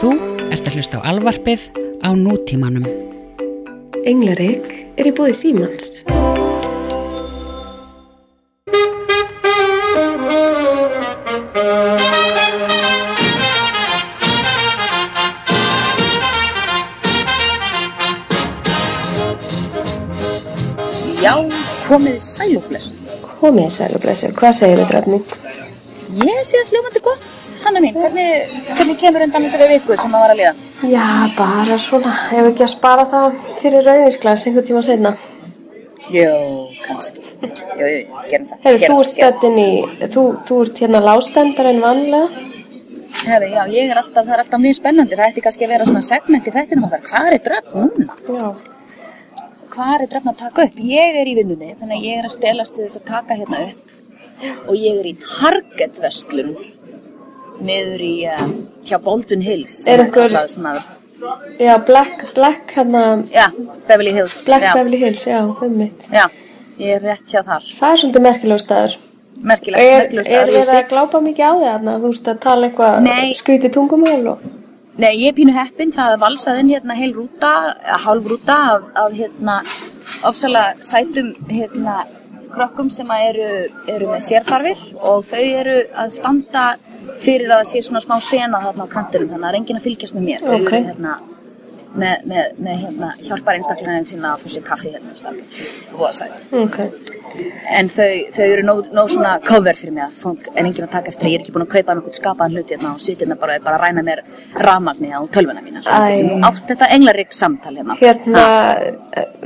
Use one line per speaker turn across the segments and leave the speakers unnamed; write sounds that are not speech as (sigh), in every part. Þú ert að hlusta á alvarpið á nútímanum.
Englarik er í bóði Símans.
Já, komið sælúflesu.
Komið sæl og blessu, hvað segir þið drafning?
Ég sé það sljómandi gott, Hanna mín. Hvernig, hvernig kemur undan þessari viku sem maður var að liða?
Já, bara svona, ef ekki að spara það fyrir rauðvísglas einhvern tíma senna.
Jó, kannski. Jó, jó, jó, gerum það.
Hefur
gerum
þú
það,
ert stöttin í, þú, þú ert hérna lástendar en vanlega?
gerum það. Herðu, já, ég er alltaf, það er alltaf mjög spennandi. Það ætti kannski að vera svona segment í þættinum okkar. Hvað er dröfn núna?
Já.
Hvað er dröfn að taka upp? Ég er í vinnunni, þannig að ég er að stelast til þess að taka hérna upp. Og ég er í Target-vestlun niður í, uh, hjá Baldwin Hills. sem
Er
er
einhver-
kallað svona-
Já, Black, Black hérna,
Já, Beverly Hills.
Black
já,
Beverly Hills, já, um mitt.
Já, ég er rétt hjá þar.
Það er svolítið merkilegur staður.
merkilegt,
Er,
merkilegt
er
að
við
ég sé
að glápa mikið á því þarna? Þú ert að tala eitthvað
Nei.
skrítið tungumál og...
Nei, ég er pínu heppin, það valsaði inn hérna heil rúta, eða hálf rúta af, af hérna ofsalega sætum hérna krökkum sem að eru, eru með sérþarfir og þau eru að standa fyrir að það sé svona smá sena þarna á kantinum þannig að það er enginn að fylgjast með mér
Ok.
þau eru hérna með, með, með hérna, hjálpar einstaklega sína að fá sér kaffi hérna og það sætt
Ok.
En þau, þau eru nóg, nóg svona cover fyrir mig að fólk er enginn að taka eftir að ég er ekki búin að kaupa nokkuð skapaðan hlut hérna og sitt hérna bara er bara að ræna mér rafmagni á tölvuna mína. Svo
Æ.
þetta er nú átt þetta englarík samtal hérna.
hérna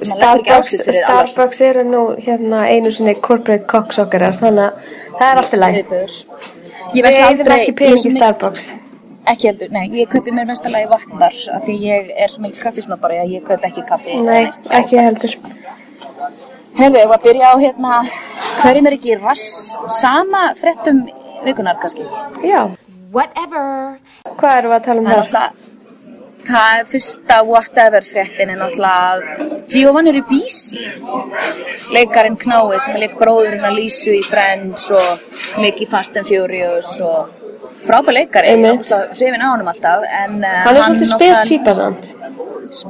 Sem að leggur ekki á
Starbucks,
sig fyrir
Starbucks eru nú hérna einu sinni corporate cocksockerar þannig að það er alltaf læg
Viðböður.
við
Ég veist
eigum
aldrei...
ekki
ég er
pening
svo
í
mik-
Starbucks
Ekki heldur, nei. Ég kaupi mér mestalagi vatnar af því ég er svo mikil kaffisnabari að ég kaupi ekki kaffi. eða
nei,
neitt. sko.
ekki heldur
Herðu, ég var að byrja á hérna... Hverjum er ekki í rass sama fréttum vikunar kannski?
já, hvað erum við að tala um
Það er
það?
náttúrulega, það er fyrsta whatever fréttin er náttúrulega að Giovanni Ribisi, leikarinn Knái sem er leik bróðurinn að Lísu í Friends og leik í Fast and Furious og frábær leikari, ég
Einmitt.
er náttúrulega hrifin á honum alltaf en eh,
hann er svolítið spes Mhm.
náttúrulega-
típa samt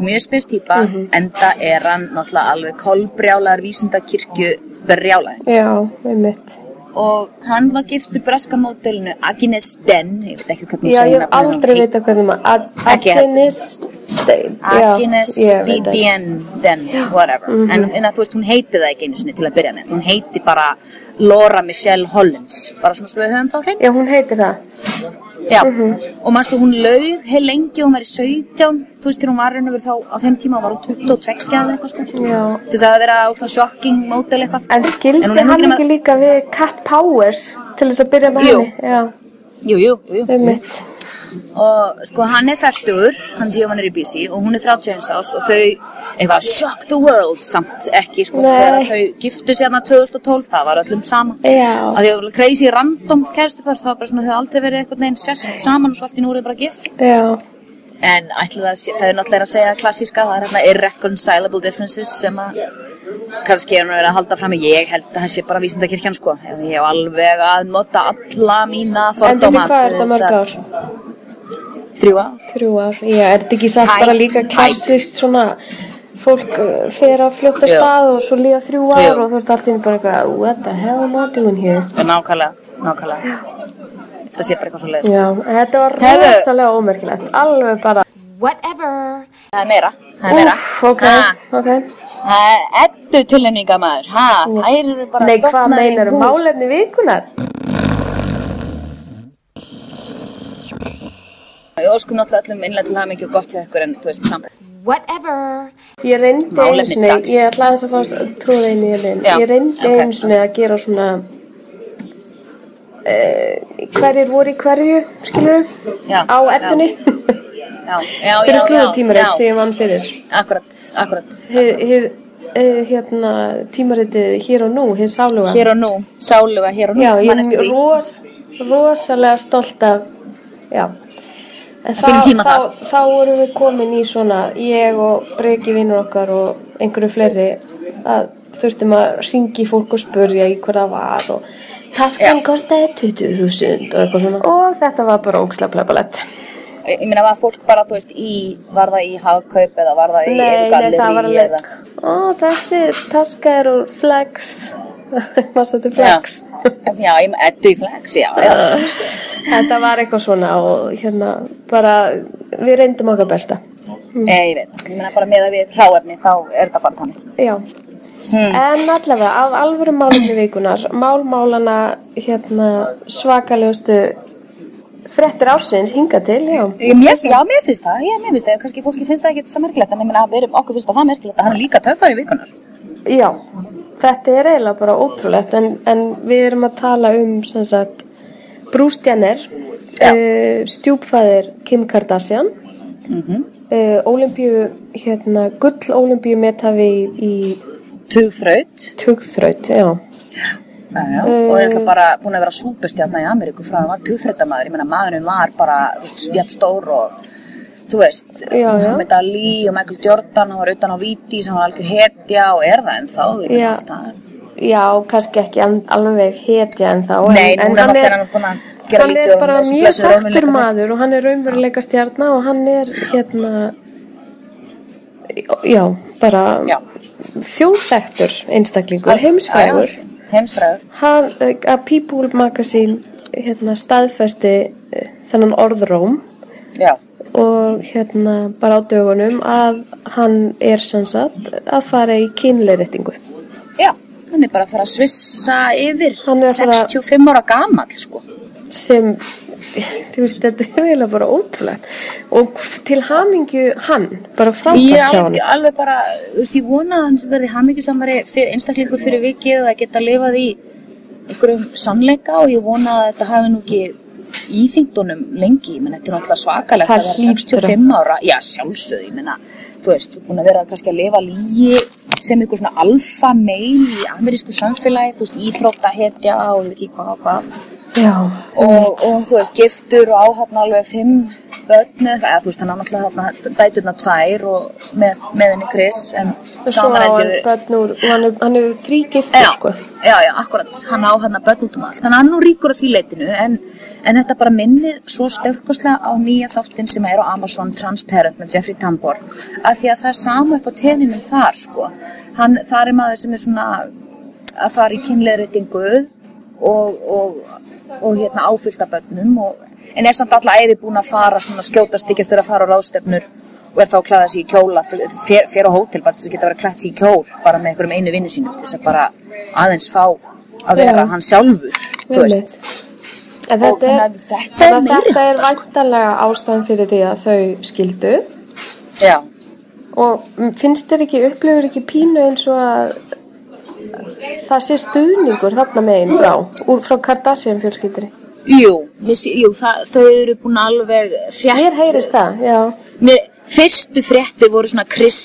mjög spes típa, enda er hann náttúrulega alveg kolbrjálar vísindakirkju brjálar
já, með mitt
og hann var giftur breska mótelinu Agnes Den, ég veit ekki hvernig
já,
segir
ég hef
nafnið, hún
aldrei
heitir-
vita hvernig maður Ag-
Ekki heldur.
Agnes já,
Agnes
ég veit ekki. Mhm.
DDN Den, whatever en, en að, þú veist, hún heiti það ekki einu sinni til að byrja með hún heiti bara Laura Michelle Hollins bara svona svo við höfum þá hrein
já, hún heitir það
Já,
Mhm.
og mannstu hún laug heil lengi og hún var í 17 þú veist, þegar hún var raun og verið þá á þeim tíma var hún 22 eða eitthvað sko
Já.
til þess að það vera ókslega shocking mótel eitthvað
en skildi
hún er nú
hann
nema-
ekki líka við Cat Powers til þess að byrja með
Jú.
henni já,
Jú, jú, jú, jú.
með mitt
og sko hann er færtur, hann Giovanni Ribisi og hún er 31 árs og þau eitthvað shock the world samt ekki sko
Nei.
þegar þau giftu sérna 2012 það var öllum sama
Já.
að því að crazy random kærstupar það var bara svona þau hafa aldrei verið eitthvað neginn sest saman og svo allt í núrið bara gift
já
en ætli það, sé- það er náttúrulega að segja klassíska það er hérna irreconcilable differences sem að kannski er hún að vera að halda fram í. ég held að það sé bara vísindakirkjan sko Ef ég hef alveg að nota alla mína
En byrju,
fordóma
hvað er þetta mörg ár?
Þrjúa
Þrjú ár, já, er þetta ekki samt
Tæp,
bara líka
tæp.
klassist svona fólk uh, fer á fljóta
Já.
stað og svo líða þrjú ár
Já.
og þú ert alltaf inn bara eitthvað what the hell am I doing here
Nákvæmlega, nákvæmlega. Þetta sé bara eitthvað svo leiðist.
Já, þetta var
Heyrðu.
rosalega ómerkilegt, alveg bara
Það er meira, það er meira.
Úff, ok, ok
Það er eddu tilhenninga maður, ha, þær eru bara
Nei, hvað
dotnar í
meinar
hús.
málefni vikunar?
Ég óskum náttúrulega öllum innlega til að hafa mikið gott hjá ykkur en þú veist saman.
Ég reyndi
Málefni
einu sinni,
dagsins.
ég ætla aðeins að fá trúða einu í þeim
Já,
Ég reyndi
ok.
einu sinni að gera svona uh, hverjir voru í hverju, skilur
Já,
á eddunni (laughs)
Já, já, já.
fyrir
já,
slúðutímarit sem ég vann fyrir
Akkurat, akkurat.
hið, hið, eh, hérna tímaritið hér og nú, hið sáluga
Hér og nú, sáluga hér og nú,
já, ég
man
er
eftir
mjög
því.
ros, rosalega stolt af já En
Á þínum tíma
þá,
þar.
þá vorum við komin í svona ég og breki vinnur okkar og einhverju fleiri að þurftum að ringi fólk og spurja í hvað það var og taskan kostaði 20.000 og eitthvað svona og þetta var bara ógslaplega balett
Ég ég meina var fólk bara, þú veist, í, var það í hagkaup eða var það í
Nei, nei,
gallerí
það var alveg,
eða...
ó, þessi taska er úr flex, (laughs) maður þetta er flex.
Já, já ég meina, eddu í flex, já, já, svo sé.
Þetta var eitthvað svona og hérna, bara, við reyndum okkar besta.
Eh, ég veit, ég meina bara með að við hráefni, þá er það bara þannig.
Já. En allavega, af alvöru málumni vikunar, málmálana, hérna, svakalegustu frettir ársins hinga til, já.
Ég, mér, já, mér finnst það, já, mér finnst það, kannski fólki finnst það ekki svo merkilegt, en ég meina, við erum, okkur finnst það það merkilegt að hann er líka töffari vikunar.
Já, þetta er eiginlega bara ótrúlegt, en, en við erum að tala um, sem sagt, Bruce Jenner,
Já.
uh, stjúpfæðir Kim Kardashian,
Mm
uh, olimpíu, hérna, gull olimpíu metafi í, í
Tugþraut,
tugþraut, já.
Já, já, og er alltaf bara búin að vera súpustjarna í Ameríku frá það var tugþreytamaður, ég meina maðurinn var bara þú veist, jafn stór og þú veist,
Já, já.
Muhammad Ali og Michael Jordan, hann var utan á viti sem var algjör hetja og er það ennþá ég meina
Já.
allt það.
Já, kannski ekki an- alveg hetja en þá.
Nei,
en, en
núna
hann
náttúrulega
er-
er hann búinn að gera
hann
lítið
er
úr
bara
þessum
mjög
blessuðu
þekktur
raunveruleika.
maður og hann er raunveruleika stjarnar og hann er hérna, já, bara
Já.
þjóðþektur einstaklingur, heimsfrægur.
Já, já, heimsfrægur,
Hann, eh, að People Magazine hérna, staðfesti eh, þennan orðróm
já,
og hérna bara á dögunum að hann er sem sagt að fara í kynleirettingu.
já hann er bara að fara að svissa yfir
Hann er að fara-
65 ára gamall sko
sem þú veist, þetta er eiginlega bara ótrúlegt og til hamingju hann bara
Ég
frábært hjá hann
alveg, alveg bara, þú veist, ég vona að hann verði hamingjusamari fyrir einstaklingur fyrir vikið að geta lifað í einhverjum sannleika og ég vona að þetta hafi nú ekki íþyngdunum lengi, ég menn þetta er náttúrulega svakalegt
Það
að vera
hlýtur að-
65 ára, já sjálfsögð, ég menna, þú veist, þú er búin að vera kannski að lifa lígi sem einhver svona alfa meil í amerísku samfélagi, þú veist, íþróttahetja og ég veit ekki hvað og hvað
já,
og, og þú veist, giftur og áhafna alveg fimm börn eða eða þú veist, hann á náttúrulega hann, dæturna tvær og með, með henni Chris en
og svo á
saman
hann
heldur
börn úr og hann, er- hann hefur þrý giftur
Já,
sko
já, já, akkurat, hann á hann börn út um allt þannig að hann er nú ríkur á því leitinu en, en þetta bara minnir svo sterkoslega á nýja þáttin sem er á Amazon Transparent með Jeffrey Tambor af því að það er sama upp á teninum þar sko, hann, þar er maður sem er svona að fara í kynleiritingu og, og, og hérna áfylltabönnum og, en er samt alla æfi búin að fara svona skjótast ekki að störa að fara á ráðstefnur og er þá að klæða sig í kjóla fer, fer- fer á hótel bara til þess að geta verið að klætt sig í kjól bara með einhverjum einu vinnu sínum til þess að bara aðeins fá að vera
Já.
hann sjálfur þú veist
en
Og
þetta
þannig
er,
að þetta er
þetta,
meiri
þetta er
háttar, sko.
væntanlega ástæðan fyrir því að þau skildu
já,
og m, finnst þér ekki, upplifur ekki pínu eins og að það sé stuðningur þarna megin frá úr frá Kardashian fjölskyldri
jú, missi, jú það, þau eru búin alveg þjætt
mér heyrist það, já
Mér, fyrstu fréttir voru svona Chris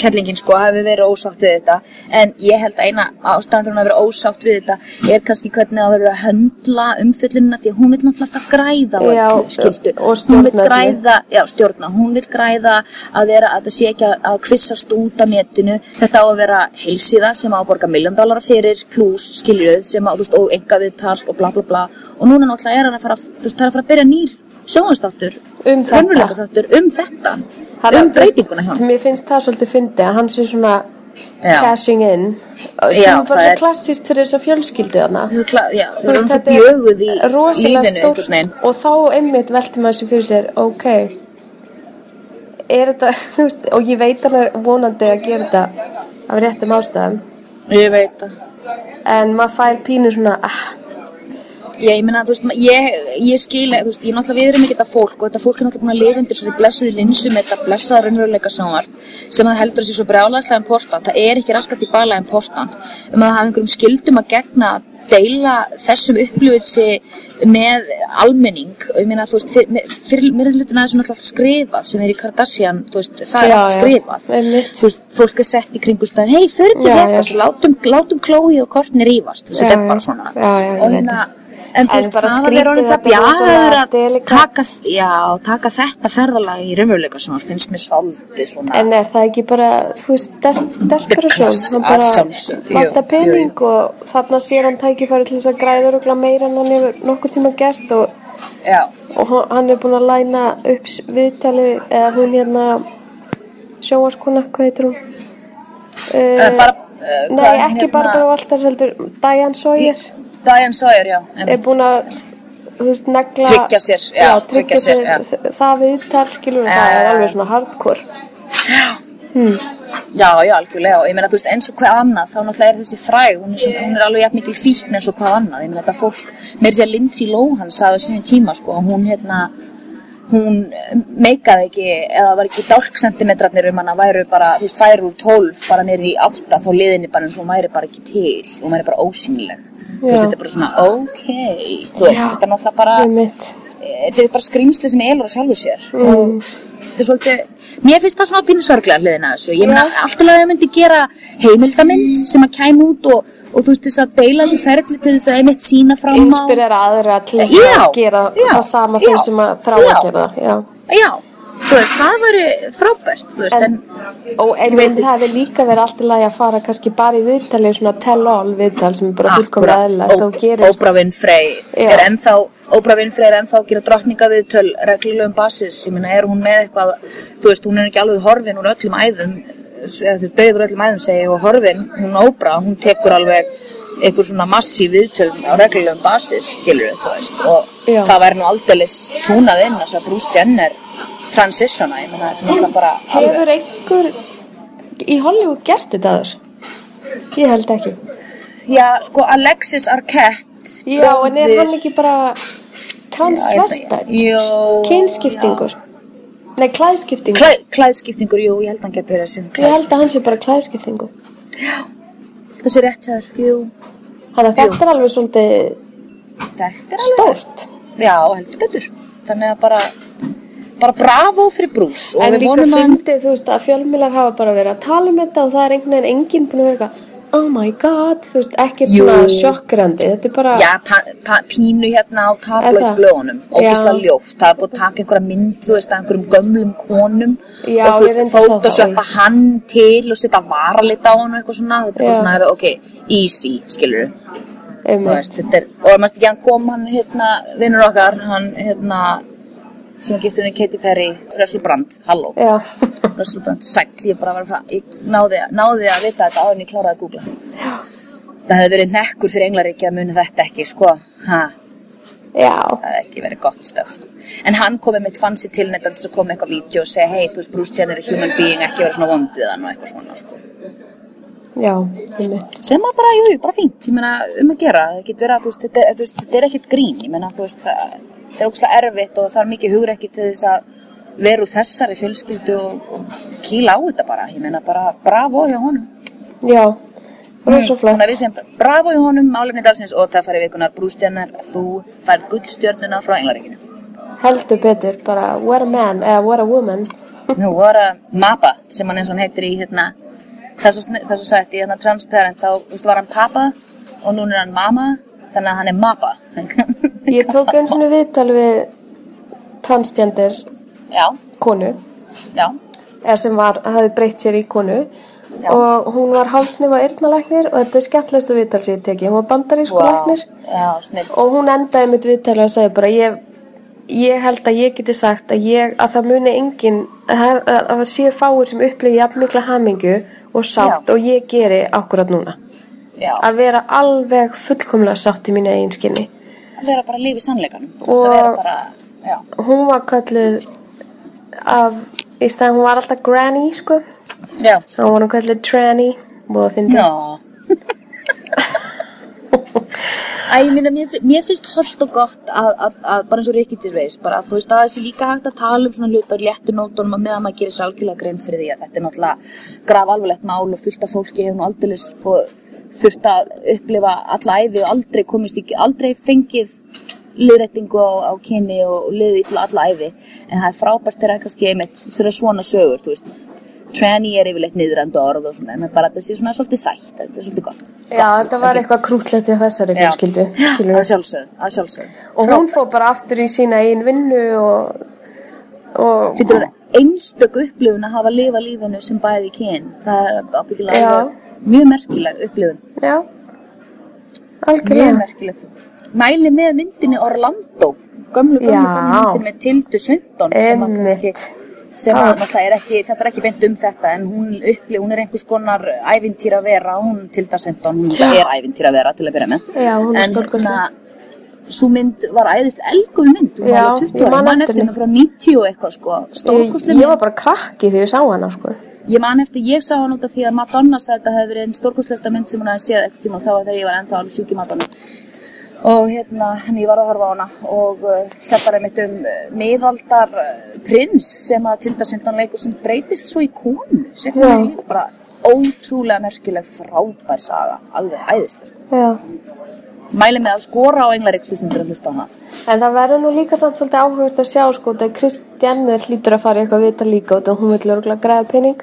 Kellingin sko, hafi verið ósátt við þetta en ég held að eina ástæðan fyrir hún að vera ósátt við þetta er kannski hvernig það verið að höndla umfyllunina því að hún vil náttúrulega alltaf græða á
Já,
öllu, skildu,
og
hún vil
stjórna öllu.
græða já, stjórna, hún vil græða að vera að það sé ekki að, að kvissast út á netinu, þetta á að vera heilsíða sem á að borga miljón dólar fyrir pluss skiljuð sem á, þú veist, og enga viðtal og bla bla bla og núna náttúrulega er hann að fara, þú veist, það er að fara að byrja nýr sjónastáttur,
Um þetta.
þáttur um þetta,
Hann-
um breytinguna hjá hann.
Mér finnst það svolítið fyndi að hann sé svona
Já.
cashing in sem
Já,
er bara svo
það er-
klassist fyrir þess að fjölskyldu hana
Þau eru kla- Já,
Þú
þau eru
veist,
svo
þetta er
bjöguð í
rosalega
lífinu
stórt
einhvern veginn.
og þá einmitt velti maður sér fyrir sér ok er þetta, (laughs) þú veist, og ég veit hann er vonandi að gera þetta af réttum ástæðum
Ég veit það.
en maður fær pínu svona ah,
Ég, ég meina, þú veist, ma- ég, ég skil, þú veist, ég náttúrulega við erum ekki þetta fólk og þetta fólk er náttúrulega búin að lifa undir svona blessuði linsu með þetta blessaða raunveruleika sjónvarp sem það heldur að sé svo brjálæðslega important. Það er ekki raskat í bala important um að hafa einhverjum skildum að gegna að deila þessum upplifelsi með almenning og ég meina, þú veist, fyrir, með- fyrir mér er hlutin aðeins náttúrulega skrifað sem er í Kardashian, þú veist, það er
Já,
allt
já,
skrifað
einmitt.
þú veist, fólk er sett í kringustæðin hei, fyrir til
Já,
Vegas,
já.
og látum, látum Chloe og Kortni rífast, þú veist,
Já,
þetta er
já.
bara svona
Já, já, ég
og
veit
hérna, En þú veist,
bara
það að
skrítið
vera honum það
þetta er
bjagur
rosalega
að
delikat.
taka, já, taka þetta ferðalag í raunveruleika svona, finnst mér svolítið svona.
En er það ekki bara, þú veist, des, desperation,
Klass,
hann
að
bara
sjálfsögðu, jú,
vanta
jú,
pening og þarna sér hann tækifæri til þess að græða rúgla meira en hann hefur nokkuð tíma gert og,
já,
og hann- hann er búin að læna upp s- viðtali eða hún hérna sjóaskona, hvað heitir hún? Uh,
Eh, bara, eh,
nei,
hvað er
ekki
hérna-
Barbara Walters heldur, Diane Sawyer
Diane Sawyer, já. einmitt.
er búin að þú veist, negla
Tryggja sér, já, tryggja
tryggja
sér,
sér,
já.
þ- það viðtal skilur
Já,
það
já,
er
já.
alveg svona hardcore
Já, já, algjörlega og ég meina þú veist eins og hvað annað þá náttúrulega er þessi fræg, hún er, svona, hún er alveg jafn mikil fíkn eins og hvað annað, ég meina þetta fólk meir sér Lindsay Lohan sagði á sínum tíma sko að hún hérna hún eh, meikaði ekki eða var ekki dálksentimetrarnir um hana væru bara, þú veist, færu úr 12 bara niður í 8 þá liðinni bara eins og hún væri bara ekki til hún væri bara ósýnileg þú veist,
Já.
þetta er bara svona, ok þú veist,
Já.
þetta er náttúrulega bara
Einmitt.
þetta er bara skrýmsli sem elur á sjálfu sér og þetta er svolítið mér finnst það svona pínu sorglega hliðin að þessu ég meina alltaf að þau myndi gera heimildamind sem að kæm út og, og þú veist þess að deila þessu ferli til þess að einmitt sína fram á
inspirera aðra til þess
Já,
að gera
já,
það sama þeir
já,
sem að þrá að
já.
gera það, já
já, þú veist, það væri frábært þú veist, en,
og
Ég
einmitt
veit-
það hefði líka verið allt í lagi að fara kannski bara í viðtali svona tell-all viðtal sem er bara fullkomlega eðlægt og gerir
Óbra Winfrey
Já.
er ennþá Óbra Winfrey er ennþá að gera drottningaviðtöl reglulegum basis, ég meina er hún með eitthvað þú veist, hún er ekki alveg horfin úr öllum æðum eh, eða þú döður öllum æðum segi ég, og horfin, hún Óbra, hún tekur alveg einhver svona massív viðtöl á reglulegum basis, skilur þú veist og
Já.
það væri nú aldeilis túnað inn þess að Bruce Jenner transitiona, ég meina þetta er náttúrulega bara alveg
hefur einhver í Hollywood gert þetta aður? ég held ekki
Já, sko Alexis Arquette
já, en er
bróðir-
hann ekki bara transvestætt?
Jó,
Kynskiptingur? Nei, klæðskiptingur.
Klæ, klæðskiptingur, jú, ég held að hann getur verið sem
ég
klæðskiptingur.
held að hann sé bara klæðskiptingur.
Það sé rétt hér, jú.
Þannig að þetta er alveg svolítið
Þetta er alveg.
stórt.
Já, heldur betur. Þannig að bara, bara bravo fyrir brús. Og
En
við
líka
vonum að hann,
fyndið, þú veist, að fjölmiðlar hafa bara verið að tala um þetta og það er einhvern veginn enginn búin að vera eitthvað, oh my god, þú veist, ekkert
Jú.
svona sjokkrandi. Þetta er bara,
já, pa, pa, pínu hérna á
Er það?
tabloid blöðunum. Ógislega
Já.
ljótt. Það er búið að taka einhverja mynd, þú veist, að einhverjum gömlum konum.
Já,
og þú
ég reyndi að
veist,
sjá það,
photoshoppa hann til og setja varalit á hann og eitthvað svona. Þetta er
Já.
bara svona, heyrðu, ok, easy, skilur
um,
Þú veist, þetta er, og maður ekki hann kom hann hérna, vinnur okkar, hann hérna, sem er giftur henni Katy Perry, Russell Brand, halló,
já, (laughs)
Russell Brand, sæll, ég bara var frá, ég náði, náði að vita þetta áður en ég kláraði að googla. Það hefði verið nekkur fyrir Englaríki að muni þetta ekki, sko, ha,
já,
það hefði ekki verið gott stöf, sko. En hann komið mitt fann sér til netta til að koma með eitthvað vídeo og segja, hei, þú veist, Bruce Jenner er human being, ekki vera svona vond við hann og eitthvað svona, sko.
já, um,
sem að bara, jú, jú, bara fínt ég meina, um að gera, það getur verið að þú veist, þetta, er- þú veist, þetta er ekkert grín ég meina, þú veist, það, það er ógslag erfitt og það þarf mikið hugur ekki til þess að veru þessari fjölskyldu og, og kýla á þetta bara, ég meina bara bravo hjá honum
já, rosa
Þannig að
flott.
við segjum bara, um bravo hjá honum, málefni dalsins og það farið vikunar brústjarnar, þú fær gullstjörnuna frá englaríkinu
Heldur betur, bara, what a man, eða what a woman.
Nú var að Mappa, sem hann eins og hann heitir í hérna, þess að þess að sagt í hérna transparent, þá þú veist, var hann Papa og núna er hann Mama, þannig að hann er Mappa.
Ég tók eins og viðtal við transgender
Já,
konu
já,
eða sem var, hafði breytt sér í konu og hún var hálsnöfa yrnalæknir og þetta er skemmtilegsta viðtal sem ég teki hún var bandarísku Sko, læknir
já, snill.
og hún endaði mitt viðtal og sagði bara ég, ég held að ég geti sagt að, ég, að það muni engin að hef- að það séu fáir sem upplýði jafn mikla hamingu og sátt
Já.
og ég geri akkurat núna
Já,
að vera alveg fullkomlega sátt í mínu eiginskinni
að vera bara líf í sannleikanum, þú veist, að vera bara, já,
hún var kölluð af, í staðan hún var alltaf granny sko,
já,
þá var hún kölluð tranny og það finnst
já. Æ, ég minna, mér, fi- mér finnst holdt og gott að, að, að bara eins og Rikki Gervais, bara þú veist að það sé líka hægt að tala um svona hluta og léttu nótunum að meðan maður gerir sér algjörlega grein fyrir því að þetta er náttúrulega graf alvarlegt mál og fullt af fólki hefur nú aldrei sko þurft að upplifa alla æfi og aldrei komist í, aldrei fengið liðrættingu á, á kyni og, og liðið illa alla æfi en það er frábært þegar kannski einmitt þegar svona sögur, þú veist tranny er yfirleitt niðrandi orð og svona, en það bara þetta sé svona svolítið sætt, þetta er svolítið gott.
Já, þetta var eitthvað krútlegt í þessari
Já.
fjölskyldu.
Já,
skilur
að
við.
sjálfsögðu, að sjálfsögðu.
Og hún fór bara aftur í sína einn vinnu og... og
Fyrir einstök upplifun að hafa lifa lífinu sem bæði kyn, það er ábyggilega
Já.
alveg mjög merkileg upplifun.
já,
Mjög
algjörlega.
merkileg. Mæli með myndinni Orlando, gömlu, gömlu,
Já.
gömlu myndin með Tildu Svindon sem að kannski
Einmitt. Ah.
sem
Já.
að náttúrulega er ekki, þetta er ekki beint um þetta en hún upplif, hún er einhvers konar ævintýra vera, hún Tilda Svindon hún er ævintýra vera til að byrja með
Já, hún er
en
stórkostleg.
svo mynd var æðislega elgul mynd hún
Já,
var alveg 20
ég
ára,
man
mann
eftir
eftir henni
henni.
frá 90 og eitthvað sko,
Ég,
stórkostleg
ég var
mynd
bara krakki þegar ég sá hana, sko.
ég man eftir, ég sá hann út af því að Madonna sagði að þetta hefði verið einn stórkostlegsta mynd sem hún hefði séð eitthvað tíma og þá var þegar ég var ennþá alveg sjúk í Madonna og hérna, henni ég var að horfa á hana og uh, fjallar einmitt um uh, miðaldar uh, prins sem að Tilda Svindon leikur sem breytist svo í konu sem
Já.
hún er bara ótrúlega merkileg frábær saga, alveg æðislega sko.
Já.
mæli með að skora á englaríks hlustundur að hlusta á hana
En það verður nú líka samt svolítið áhugast að sjá, sko, það Kristjannir hlýtur að fara í eitthvað vita líka og það hún vil örgulega græða pening.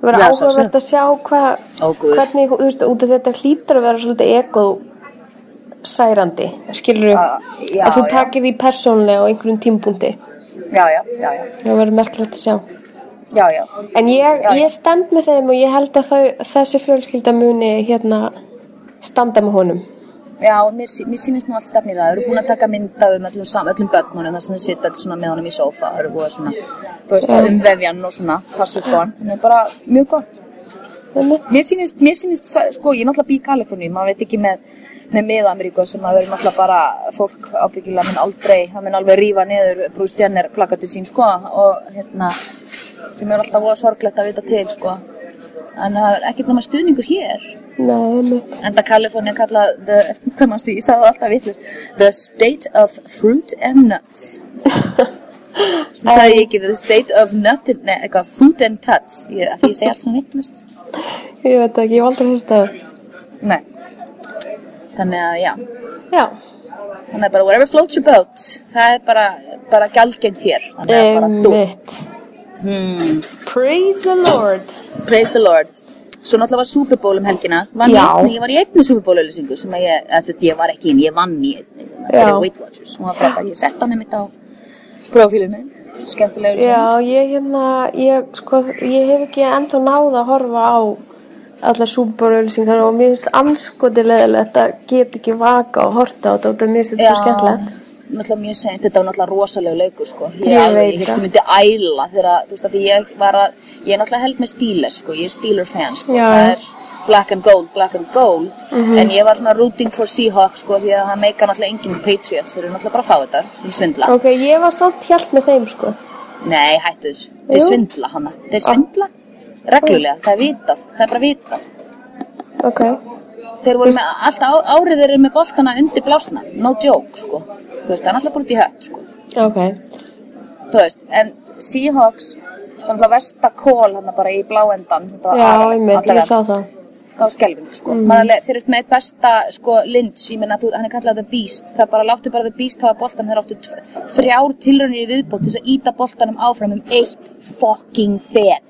Það verður
Já,
áhugavert
sjálfsagt.
að sjá hvað,
Ó, guð.
hvernig, þú veist, út af þetta hlýtur að vera svolítið ekóð særandi, skilur
Ah, já,
að þú
já.
takir því persónlega á einhverjum tímpúndi.
já, já, já, já,
Það verður merkilegt að sjá.
já, já.
En ég,
Já, já.
ég stend með þeim og ég held að þau, þessi fjölskylda muni hérna standa með honum.
Já, mér, sí- mér sýnist nú allt stefni í það. Það eru búin að taka mynd af um öllum, sam, öllum börnunum þar sem þau sitja öll svona með honum í sófa. Það eru búin að svona, þú veist, að umvefja hann og svona, passa upp á hann. Það er bara mjög gott.
Einmitt.
Mér sýnist, mér sýnist, sa- sko, ég er náttúrulega bý í Kaliforníu, maður veit ekki með, með miða-Ameríku sem að verður náttúrulega bara fólk ábyggilega mun aldrei, það mun alveg rífa niður Bruce Jenner plakatið sín, sko, og hérna, sem er alltaf voða sorglegt að vita til, sko. En það er ekkert nema stuðningur hér.
Nei, einmitt.
Enda Kalifornia kallað the, (laughs) hvað mannstu, ég sagði það alltaf vittlust, the state of fruit and nuts. Það sagði ég ekki, the state of nut, ne, eitthvað, fruit and tuts, ég, af því ég segi allt svona vittlust.
Ég veit það ekki, ég hef aldrei hérst að það.
Nei. Þannig að, já,
Já.
þannig að bara whatever floats your boat, það er bara, bara gælgengt hér, þannig að bara dú.
Einmitt.
Hmm.
Praise the Lord.
Praise the Lord. Svo náttúrulega var Super Bowl um helgina. Vann
Já.
Ég, einni- ég var í einni Super Bowl auðlýsingu sem að ég, að sérst, ég var ekki inn, ég vann í einni hérna,
Já.
fyrir Weight Watchers. Hún var frábær, ég sett hann einmitt á profílinu. Skemmtilega auðlýsingu.
Já, ég hérna, ég, sko, ég hef ekki ennþá náð að horfa á alla súbarauðlýsingar og mér finnst anskoti leðilegt að geta ekki vaka og horta á þetta og mér finnst þetta svo skemmtilegt.
Náttúrulega mjög seint, þetta var náttúrulega rosalega leiku sko. Ég,
Ég
alveg,
veit
ég
það.
hérstu myndi æla þegar að, þú veist að því ég var að, ég er náttúrulega held með Steelers sko, ég er Steeler fan sko.
Já. Mhm.
Það er black and gold, black and gold, en ég var svona rooting for Seahawks sko því að það meika náttúrulega engin Patriots, þeir eru náttúrulega bara fáið sem svindla.
Ok, ég var samt hjælt með þeim, sko.
Nei, hættu þessu. Þeir
Jú. Ah.
svindla hana. Þeir svindla reglulega. Það er vitað. Það er bara vitað.
Ok.
Þeir voru með, alltaf á- árið þeir eru með boltana undir blásna. No joke, sko. Þú veist, það er alltaf bara út í hött, sko.
Ok.
Þú veist, en Seahawks, það er alltaf vestakól hann bara í bláendan. Þetta var
Já,
agalegt,
einmitt,
allavega.
ég sá það.
Það var skelving, sko. Mm. Alveg, þeir eru með eitt besta, sko, Lynch, ég menna, hann er kallað The Beast. Það bara láttu bara The Beast hafa boltan, þeir áttu tv- þrjár tilraunir í viðbót til þess að íta boltanum áfram um eitt fucking fett.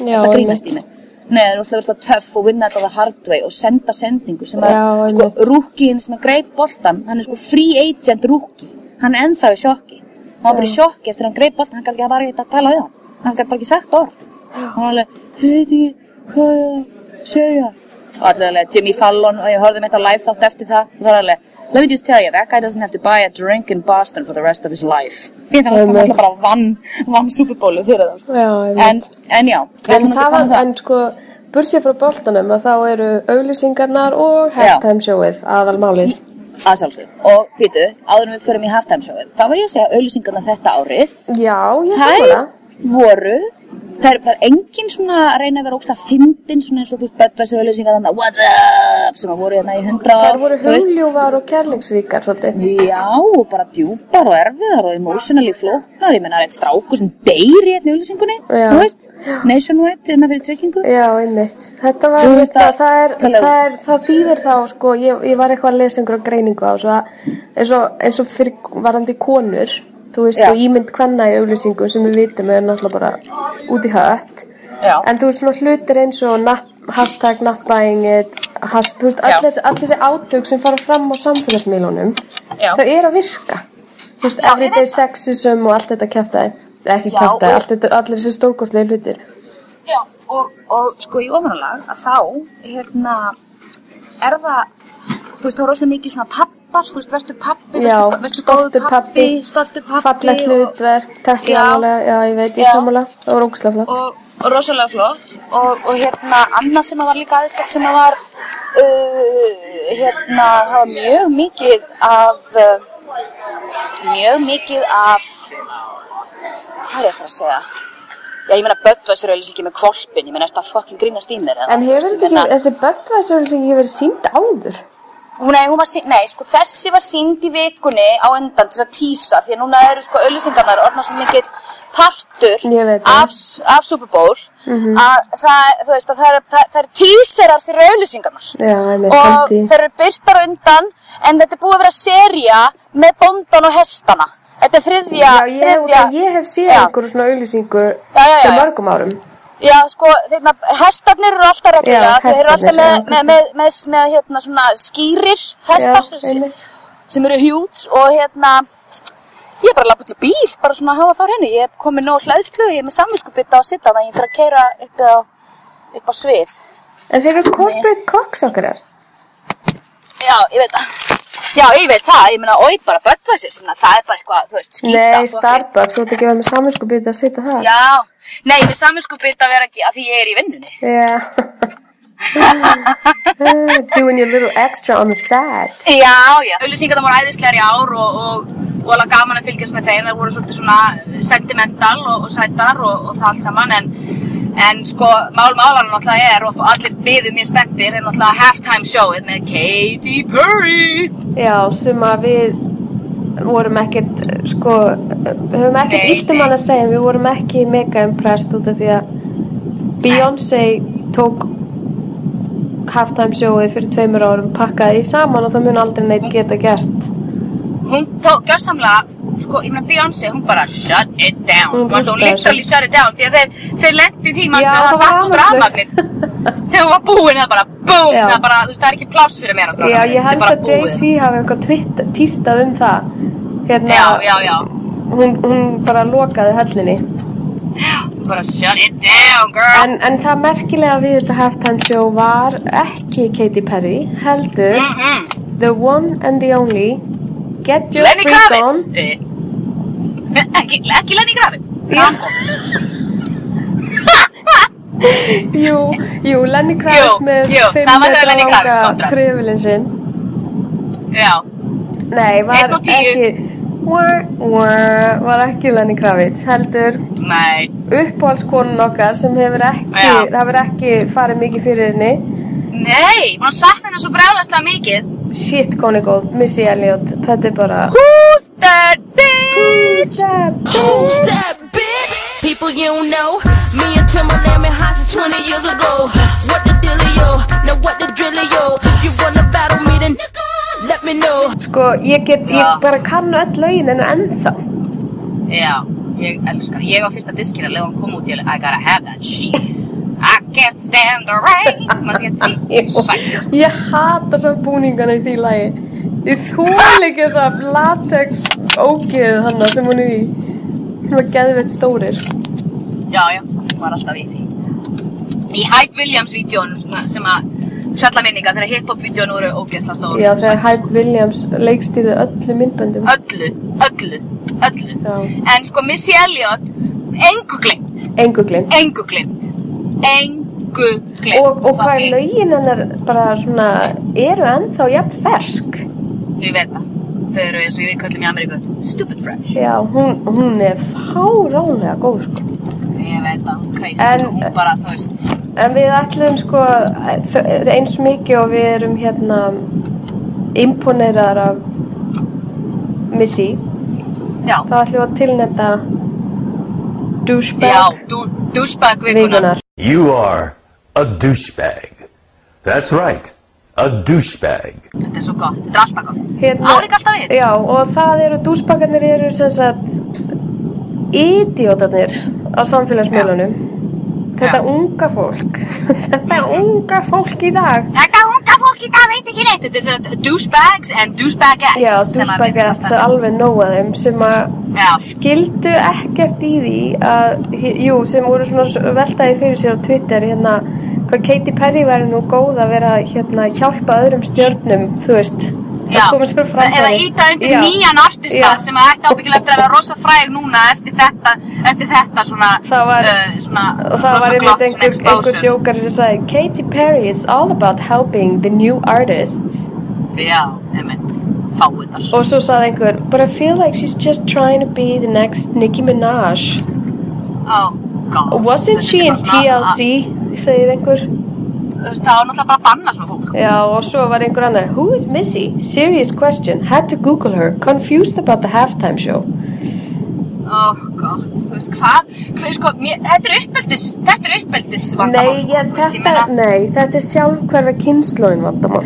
Já,
Þetta grínast í
einmitt.
mig. Nei, það er útlega töff og vinna þetta á the hard way og senda sendingu sem að,
Já,
sko,
einmitt.
rúkiðin sem að greip boltan, hann er sko free agent rúki. Hann er ennþá í sjokki. Hann var bara í sjokki eftir að hann greip boltan, hann gæti bara ekki að tala við hann. Hann gæti bara ekki sagt orð. Hann var alveg, heiti, hvað er það að segja? Og allir alveg, Jimmy Fallon og ég horfði mitt á live þátt eftir það. Það var alveg, let me just tell you, that guy doesn't have to buy a drink in Boston for the rest of his life. Ég þannig að hann
Einmitt.
alltaf bara vann, vann superbólu fyrir það. sko.
Já, einmitt.
en, en já, við
En
ætlum ekki
það
að tala um
var, en sko, bursið frá boltanum að þá eru auðlýsingarnar og
Já.
halftime showið aðalmálið.
að sjálfsög og býtu, áður en við förum í halftime showið þá var ég að segja auðlýsingarna þetta árið
Já, ég sá
þær
það.
voru það er bara engin svona að reyna að vera ógst að fyndin svona eins og þú veist Budweiser auðlýsingar þannig what's up sem að voru hérna í hundra
Þær voru hugljúvar og kærleiksríkar, svolítið.
Já, og bara djúpar og erfiðar og emotionally flóknar, ég menna það er eitt stráku sem deyr í hérna auðlýsingunni,
Já.
þú veist, nationwide innan fyrir tryggingu.
Já, einmitt. Þetta var,
Þú veist
þetta,
að- um-
það, er,
Talaðu.
það, er, það þýðir þá, sko, ég, ég var eitthvað að lesa einhverja greiningu á, svo að, eins og, eins og fyrir varandi konur, þú veist,
Já.
og ímynd hvenna í auglýsingu sem við vitum er náttúrulega bara út í hött,
Já.
en þú veist svona hlutir eins og not, hashtag not buying it has, þú veist,
Já.
öll þessi, öll þessi átök sem fara fram á samfélagsmiðlunum
Já.
þau eru að virka þú veist,
ég
everyday
veit það.
sexism og allt þetta kjaftaði, ekki
Já,
kjaftaði
og-
allt þetta, allir þessi stórkostlegi hlutir
Já, og, og sko í ofanálag að þá, hérna, er það, þú veist, þá er rosalega mikið svona pappar, þú veist, verður pappi,
já,
vertu- vertu góður
stoltur pappi,
stoltur pappi.
fallegt hlutverk, takk
Já.
ég alveg já, ég veit, ég
Já.
sammála, það var ógustlega flott
og, og rosalega flott og, og hérna annað sem að var líka aðeinslegt sem að var uh, hérna það var mjög mikið af uh, mjög mikið af hvað er ég að fara að segja já ég meina Böttvæsur er ekki með kvolpin ég meina er þetta fucking grínast í mér eða?
en hefur
Þú veist,
þetta
ég meina-
ekki, þessi böggvæsar sem ekki verið sínd áður
Hún, nei, hún var, sýnd- nei, sko, þessi var sínd í vikunni á endan til þess að tísa því að núna eru sko auðlýsingarnar orðna svo mikill partur
Ég veit það. Mhm.
af, af Super Bowl að það, þú veist, að það eru það, það er tíserar fyrir auðlýsingarnar
Já, einmitt,
og
held ég.
þeir eru byrtar á undan en þetta er búið að vera seria með bóndan og hestana þetta er þriðja,
Já, ég,
þriðja
hef, ég hef séð
Já.
einhverju svona auðlýsingu
Já, já, já,
fyrir
já.
mörgum árum.
Já, sko, þeirna, hestarnir eru alltaf reglulega,
Já,
þeir eru alltaf
hestarnir,
með,
já.
með, með, með, með hérna, svona skýrir hestar
Já,
sem,
einmitt.
sem eru hjút og hérna, ég er bara að lappa til bíl, bara svona að hafa þá henni, ég er komin nóg hlæðslu, ég er með samvinskupbytta að sitta þannig að ég þarf að keira upp á, upp á svið.
En þeir eru corporate cocksockerar.
Já, ég veit það. Já, ég veit það, ég meina, oi, bara böttvæsir, það er bara eitthvað, þú veist, skýta.
Nei, Starbucks, þú ert ekki að vera með saminsku býtt að setja það.
Já, nei, með samvinskupbytta vera ekki, að því ég er í vinnunni.
(laughs) Yeah. Eh, Doing your little extra on the side.
Já, já, auðlýsingarna voru æðislegar í ár og, og, og alveg gaman að fylgjast með þeim, það voru svolítið svona sentimental og, og sætar og, og það allt saman en, en sko mál málan náttúrulega er og allir biðu mjög spenntir er náttúrulega halftime showið með Katy Perry
Já, sem að við vorum ekkert, sko, við höfum ekkert
Nei,
íltum
nei.
hann að segja, en við vorum ekki mega impressed út af því að Beyoncé tók halftime sjóið fyrir tveimur árum, pakkaði því saman og það mun aldrei neitt geta gert.
hún tók gjörsamlega sko, ég meina Beyoncé, hún bara shut it down
Hún
hún, Mastu, hún
rústaði
literally shut it down því að þeir, þeir lendi því
Já,
manstu, að
það var
datt út
rafmagnslaust.
rafmagnið. þegar hún var búin það bara boom,
Já.
það, bara, þú veist, það er ekki pláss fyrir mér strákar
(laughs) Já,
mínir,
ég
þetta er
held
bara
að
búið.
Jay-Z hafi eitthvað twitt- tístað um það. Hérna,
já, já, já
Hún, hún bara lokaði höllinni.
bara shut it down girl
En, en það merkilega við þetta halftime show var ekki Katy Perry, heldur...
mm -mm.
The one and the only Get your
Lenny
freak
Kravitz
on
Eh, ekki, ekki Lenny Kravitz
Já. Jú, jú, Lenny Kravitz
Jú,
með
jú,
5
það var
metra
Lenny Kravitz
langa
kontra.
trefilin sinn
já,
Nei, var
Einn og tíu.
ekki war, war, var ekki Lenny Kravitz heldur
nei
uppáhaldskonun okkar sem hefur ekki
Já.
það hefur ekki farið mikið fyrir henni
nei, mann sakna hennar svo brjálæslega mikið
shit koni góð, Missy Elliot þetta er bara
who's that bitch
Who's that bitch? People you know. Me and Timberland and Hines 20 years ago. What the dealio? Now what the drillio? You wanna battle me then? Let me know.
sko, ég get,
Já.
ég bara kann öll lögin en ennþá
Já, ég elskar það. Ég á fyrsta diskina leða hún kom út til I gotta have that shit. I can't stand the rain. Man sé því sætt.
Ég hata samt búningana í því lagi Ég þól ekki þess að latex ógeðu hana sem hún er í Hún var geðveitt stórir
Já, já, hún var alltaf í því. Í Hype Williams-vídeónum sem að sjalla minninga þegar hip-hop-vídeón voru ógeðsla stór.
Já þegar Hype Williams leikstýrði öllu myndböndum
Öllu, öllu, öllu.
Já.
En sko Missy Elliot, engu glemt,
Engu glimt
engu glemt, engu glemt.
Og, og hvað er lögin hennar bara svona eru ennþá jafn fersk
Ég veit það. Þau eru eins og við köllum í Ameríku, stupid fresh.
Já, hún, hún er fáránlega góð sko
Ég veit það, hún kreis
En-
og hún bara, þú veist
En við ætlum sko þ- eins mikið og við erum hérna imponeraðar af Missy
Já,
Þá ætlum við að tilnefna
já,
douchebag
dú, douchebag vikunar
vikunar.
You are a douchebag. That's right, a douchebag.
Þetta er svo gott, þetta er alltaf gott
Hérna-
Álíka alltaf við
Já, og það eru, douchebagarnir eru sem sagt idiotarnir á samfélagsmiðlunum. Þetta unga fólk. (laughs) Þetta unga fólk í dag.
Þetta unga fólk í dag veit ekki neitt. Þetta er svona douchebags and douchebagettes.
Já,
sem að við-
dúsbækjart er alveg nóg að þeim sem að
Já,
skildu ekkert í því að, jú, sem voru svona veltaði fyrir sér á Twitter hérna, hvað Katy Perry væri nú góð að vera hérna hjálpa öðrum stjörnum, þú veist,
já.
að koma sér fram
Eða íta undir nýjan artista sem að ætti ábyggilega eftir að vera rosa fræg núna eftir þetta, eftir þetta svona,
Það var-
eh, svona
Og það var
rosa
einmitt
glott, svona
einhver, einhver
exposure.
djókar sem sagði Katy Perry is all about helping the new artists
Já, einmitt. Fáuðar.
og svo sagði einhver But I feel like she's just trying to be the next Nicki Minaj
Oh, God.
Wasn't
Þetta
she
er
in
bara svona-
TLC? segir einhver
Þú veist, Það var náttúrulega bara að banna svona fólk.
Já, og svo var einhver annar Who is Missy? Serious question Had to google her Confused about the halftime show
Oh god, þú veist hvað, hvað sko, mér, þetta er uppeldis, þetta er uppeldis vandamál,
Nei,
sko,
ég,
þú veist, ég
þetta,
meina,
nei, þetta er sjálfhverfa kynnslóðin vandamál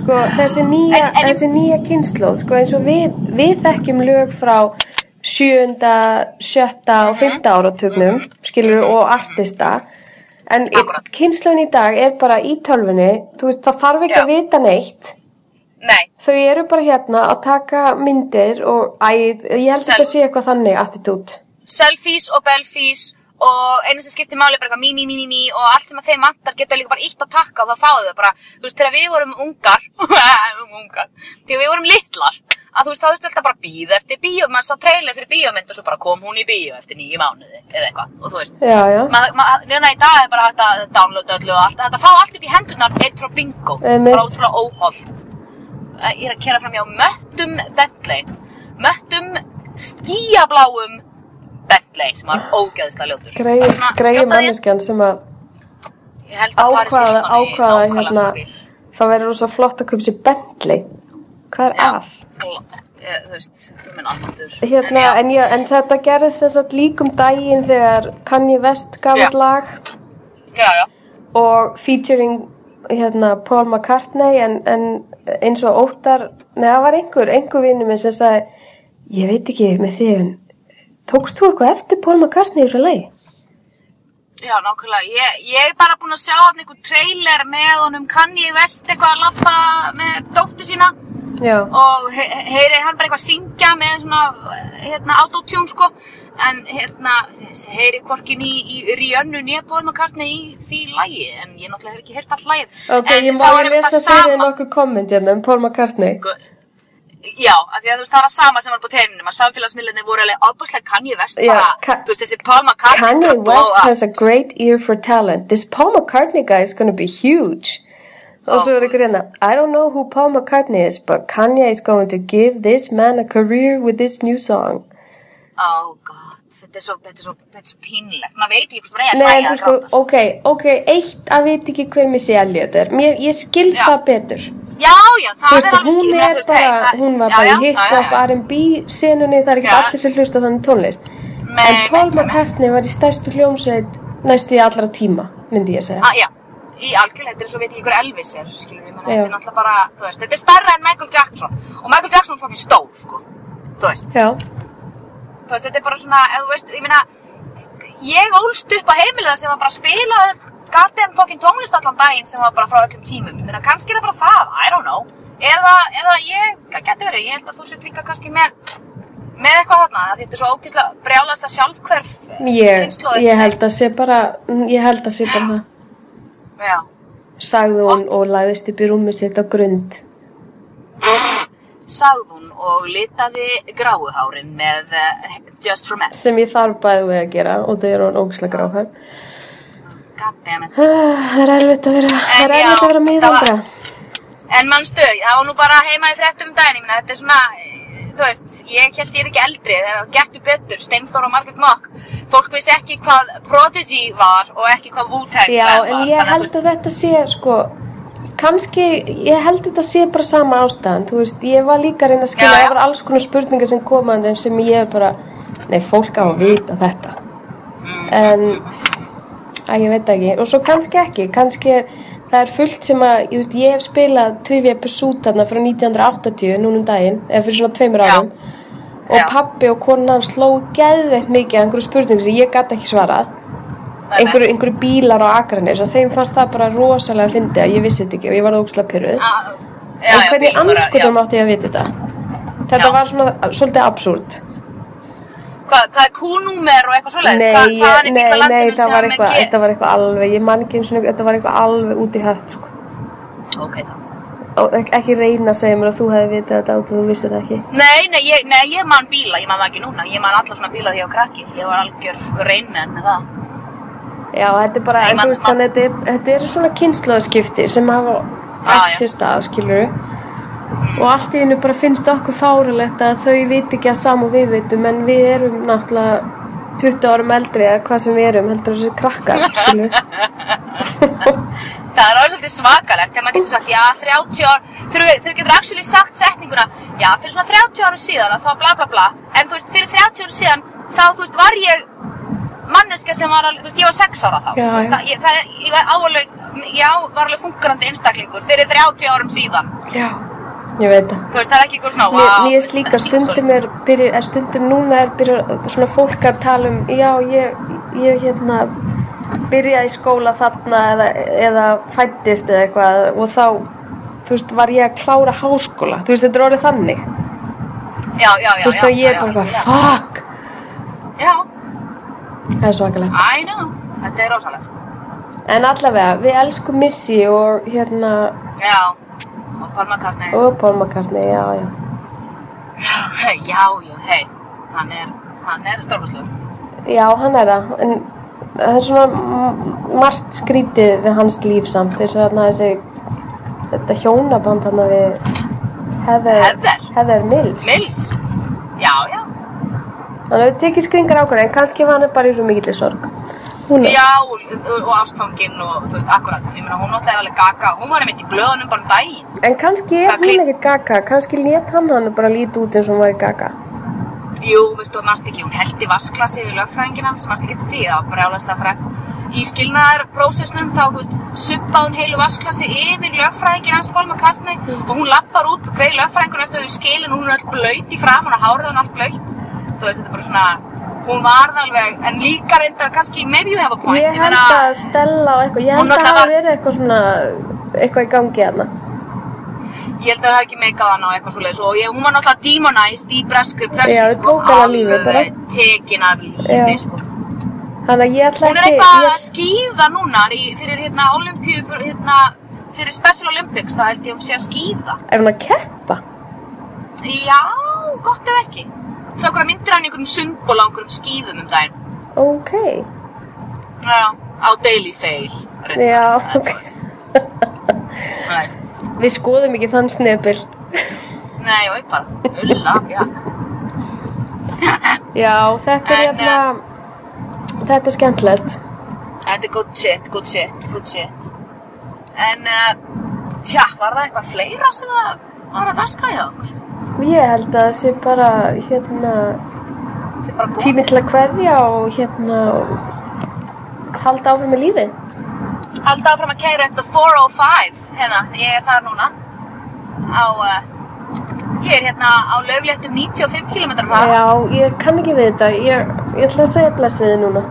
Sko, þessi nýja,
Ah. En- en-
þessi nýja kynnslóð Sko, eins og við, við þekkjum lög frá sjöunda, sjötta
Mhm.
og fimmta áratugnum Skilur og artista En
Akkúrat.
kynnslóðin í dag er bara í tölvunni Þú veist, það þarf ekki
Já.
að vita neitt
nei,
Þau eru bara hérna að taka myndir og æ, ég held að
Self-
þetta sé eitthvað þannig attitút.
selfies og belfies og einu sem skiptir máli er bara eitthvað mí, mí, mí, mí, mí og allt sem að þeim vantar getur líka bara ítt og takka og þá fáðu þau bara, þú veist, þegar við vorum ungar, (laughs) um ungar, þegar við vorum litlar, að þú veist, þá þurftu alltaf bara að bíða eftir bíó, maður sá trailer fyrir bíómynd og svo bara kom hún í bíó eftir nýju mánuði eða eitthvað, og þú veist,
Já, já.
maður, maður, neina í dag er bara hægt að downloada öllu og allt, þetta fá allt upp í hendurnar eitt frá bingo,
Einmitt.
bara ótrúlega óholt Eh, ég er að kera fram hjá möttum Bentley, möttum skíabláum Bentley sem var ógeðslega ljótur
Greið,
Svona,
greið
skjótaði inn.
manneskjan sem að
Ég held að Paris
ákvaða,
Hilton í
ákvaða
nákvæmlega
hérna,
svona bíl.
það verður rosa flott að köpa sér Bentley. Hvað er
Já.
að?
Og, ég- þú veist, um ég minn andur
Hérna, en, já, en þetta gerðist þess að líkum um daginn þegar Kanye West gaf
Já.
út lag
já, já,
og featuring hérna, Paul McCartney en, en eins og óttar, neða það var einhver, einhver vinnu minn sem sagði ég veit ekki með því en tókst þú eitthvað eftir Paul McCartney í þessu lagi?
já, nákvæmlega ég, ég er bara búin að sjá hann einhver trailer með honum Kanye West eitthvað að lappa með dóttu sína
Já.
og he heyri hann bara eitthvað syngja með svona hérna, autotune sko en hérna heyri hvorkin í, í Rihannu nýjabormakartni í því lægi en ég náttúrulega hef ekki heyrt allt lægið
Ok,
en
ég má
þá
ég
er einmitt
lesa
það
fyrir
sama-
nokkuð komment hérna um Paul McCartney.
Já, af því að þú veist, það er það sama sem var búið teininum að samfélagsmiðlinni voru alveg óbúslega Kanye West
Já,
bara,
Ka-
þú veist, þessi Paul McCartney is
Kanye
gonna blow
West
up.
has a great ear for talent. This Paul McCartney guy is gonna be huge. Og
Oh,
svo er ykkur hérna, I don't know who Paul McCartney is, but Kanye is going to give this man a career with this new song.
Oh god, þetta er svo, þetta er svo, þetta er svo pínlegt maður veit ekki hvað ég er að
Nei,
hlæja
en þú
að
sko,
gráta, sko.
ok, ok, eitt að veit ekki hver mér sé Elliot er. Mér, ég skil
Já.
það betur.
Já, já,
Þú
það
veist,
er alveg
hún
skilja,
er bara, hún var bara í hip-hop, R&B senunni, það er ekki
Já.
allir sem hlusta á þannig tónlist.
Nei,
en Paul
nei, nei.
McCartney var í stærstu hljómsveit næstu í allra tíma, myndi ég segja.
Ah, já, í algjörlega, þetta er svo veit ég hver Elvis er, skilum við, menn
Já.
þetta er náttúrulega bara, þú veist, þetta er starra en Michael Jackson og Michael Jackson var fokkin stór, sko, þú veist,
Já.
þú veist, þetta er bara svona, eða þú veist, ég meina, ég ólst upp á heimilega sem var bara að spila goddamn fokkin tónlist allan daginn sem var bara frá öllum tímum, ég meina, kannski er það bara það, I don't know, eða, eða ég, hvað geti verið, ég held að þú sér líka kannski með, með eitthvað þarna, af því þetta er svo ógeðslega, brjálæðslega sjálfhverf eh,
Ég,
kynslóðin.
ég held að sé bara, ég held að sé bara það.
Já.
Sagði hún og lagðist upp í rúmið sitt á grund.
sagði hún og litaði gráuhárin með uh, Just From Us.
Sem ég þarf bæði við að gera og það er hún ógislega gráhæf.
Goddammit.
Ah, Það er erfitt að vera, það er
En já,
erfitt að vera miðaldra.
það En mannstu, það var nú bara heima í fréttum um daginn, ég meina þetta er svona, eh, þú veist, ég held ég er ekki eldri, það er gettu betur, Steinþór og Margaret Mock. Fólk vissi ekki hvað Prodigy var og ekki hvað Wu-Tang
Já,
Clan var.
en ég held að þetta sé, sko, kannski, ég held þetta sé bara sama ástæðan. Þú veist, ég var líka að reyna að skilja,
Já, já.
það var alls konar spurningar sem komaðan sem ég bara, nei, fólk á að vita þetta.
Mm,
En, að ég veit það ekki, og svo kannski ekki, kannski er, það er fullt sem að, ég veist, ég hef spilað Trivia Pursuit þarna frá 1980 núna um daginn, eða fyrir svona tveimur
Já.
árum, og
Já.
pabbi og konan hans sló geðveitt mikið að einhverju spurningu sem ég gæti ekki svarað. einhverju, einhverju bílar á Akranes og þeim fannst það bara rosalega fyndi að ég vissi þetta ekki og ég var það ógslag pyrruð
ah, já,
en hvernig
bíl bara,
anskutum
já.
átti ég að vita þetta þetta
Já.
var svona svolítið absúrt
Hvað, hvað er Q-númer og eitthvað
nei,
svoleiðis? hvað,
ég,
hvaðan
nei,
er bíll á
nei
landinu
þetta,
sem
var
er með
eitthvað,
G?
þetta var eitthvað alveg ég man ekki eins og þetta var eitthvað alveg út í hött sko.
Ok, þá.
og ek- ekki reyna að segja mér að þú hefði vitað þetta og þú vissir það ekki
Nei, nei, ég, nei, ég man bíla, ég man það ekki núna, ég man alla svona bíla því ég var krakki, ég var algjör reynmenn með það.
Já, þetta er bara,
Nei,
en þú
man-
veist, þannig að þetta er- þetta eru svona kynnslóðskipti sem hafa
já.
allt sér stað, skilur og allt í einu bara finnst okkur fárulegt að þau viti ekki að sama og við vitum en við erum náttúrulega 20 árum eldri eða hvað sem við erum heldur þessi krakkar, skilur
(laughs) Það er alveg svolítið svakalegt þegar maður getur sagt, já, 30 ár, þegar þú getur actually sagt setninguna, já, fyrir svona 30 árum síðan að þá bla bla bla, en þú veist, fyrir 30 árum síðan, þá, þú veist, var ég manneska sem var alveg, þú veist, ég var 6 ára þá,
Já,
þú veist,
já.
það, ég, það, er- ég var áalveg, já, var alveg funkarandi einstaklingur fyrir 30 árum síðan,
Já, ég veit það
þú veist, það er ekki eitthvað svona,
Mér
vá,
mér finnst
þú veist,
líka
það er ekki
stundum er, byrja, er stundum núna er byrja svona fólk að tala um já ég, ég hérna byrjaði í skóla þarna eða, eða fættist eða eitthvað og þá þú veist var ég að klára háskóla þú veist þetta er orðið þannig
svoleiðis. já, já, já,
þú veist
já,
þá ég
já,
er bara eitthvað
já,
fuck
já,
það er svakalegt
I know, þetta er rosalegt, sko.
en allavega við elskum Missy og hérna
já, og palmakarni,
og Paul McCartney já já
(laughs) já, já, hei, hann er, hann er stórfarslegur.
já hann er það en það er svona m- margt skrítið við hans líf samt þess að hann þessi þetta hjónaband hann við Heather,
Heather?
Heather Mills
Mills Já, já,
Þannig að við tekið skringar ákvörðu en kannski var hann bara í svo mikill sorg. Hún er.
já og, og- og ástfanginn og þú veist, akkurat Ég meina, hún náttúrulega er alveg gaga Hún var einmitt í blöðunum bara um daginn
En kannski er hún
Það klí-
ekkert gaga, kannski lét hann hann bara líti út eins og hún var í gaga.
Jú, veistu, og manst ekki, hún held í vasklasi við lögfræðingin hans Manst ekki eftir því, það var brjálæslega frekt Í skilnaðarprósessnum þá, þú veist, subba hún heilu vasklasi yfir lögfræðingin hans Paul McCartney Og hún lappar út og greið lögfræðingur eftir að þau skilin Hún er öll blöyt í fram, hún er hárið hún allt blöyt Þú veist, þetta er bara svona Hún varð alveg, en líka reyndar kannski, maybe you have a point
Ég held
meina-
að Stella og eitthvað, ég
Hún
held að það
náttúrulega
hafi verið eitthvað svona, eitthvað í gangi hérna.
Ég held að það hafi ekki meikað hana og eitthvað svoleiðis og ég, hún var náttúrulega demonized í breskri pressu
Já,
sko,
tók hana af lífi bara.
alveg tekin af lífi
Já.
sko.
Þannig að ég ætla
Hún er
ekki,
eitthvað að
ég,
skýða núna í, fyrir hérna Olympíu, fyrir, hérna, fyrir Special Olympics, það held ég hún sé að skýða.
er hún að keppa?
Já, gott ef ekki. Sá okkur að myndir hann í einhverjum sundból á einhverjum skýðum um daginn.
Ok,
Já, á Daily Fail. reyndar.
já, ok.
Þú veist,
Við skoðum ekki þann snefil.
nei, og ég bara, ulla, já.
Já, þetta er
En,
hérna, þetta er skemmtilegt.
Þetta er good shit, good shit, good shit. En, uh, tja, var það eitthvað fleira sem það var að daska hjá okkur?
Ég held að það sé bara, hérna,
Sem bara komið?
tími til að kveðja og hérna, halda áfram með lífið.
Halda áfram að kæra upp the 405, hérna, ég er þar núna. Á, uh, ég er hérna á löfléttum 95 km hraða.
Já, ég kann ekki við þetta. Ég, ég ætla að segja blessiði núna.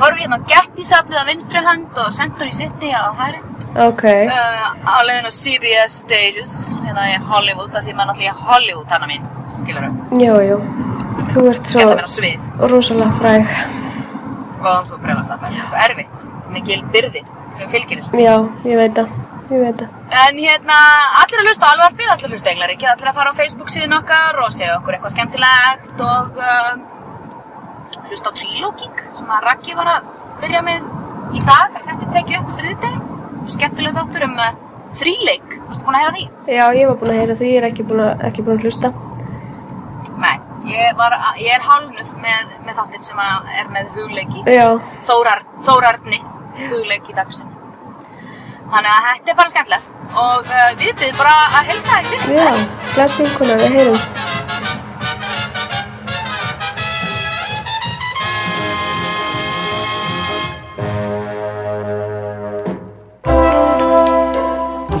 Horfi hérna á Getty-safnið á vinstri hönd og Century City á hæri.
Ok,
Uh, á leiðin á CBS Stages, hérna í Hollywood, af því maður náttúrulega í Hollywood, hana mín, skilur þau.
jú, jú. Þú ert svo
Geta mér á svið.
rosalega fræg.
og svo brjálast að færa, svo erfitt mikil byrði sem fylgir þessu
Já, ég veit það. Ég veit það.
en hérna, allir að hlusta á alvarpið allir að hlusta á englaríkið, allir að fara á Facebook síðan okkar og segja okkur eitthvað skemmtilegt og uh, hlusta á Trilogík sem að Raggi var að byrja með í dag þetta er tekið upp þriðdeg skemmtileg þáttur um uh, þríleik varstu búin að heyra því?
Já, ég var búin að heyra því. Ég er ekki búin að, ekki búin að hlusta.
Nei, ég, var, að- ég er hálnuð með, með þáttinn sem að er með hugleiki
Já,
Þórar, Þórarni hugleik í dagsin þannig að þetta er bara skemmtilegt og uh, við byrjum bara að helsa þér fyrir
já. Bless vinkuna, við heyrumst.
Þú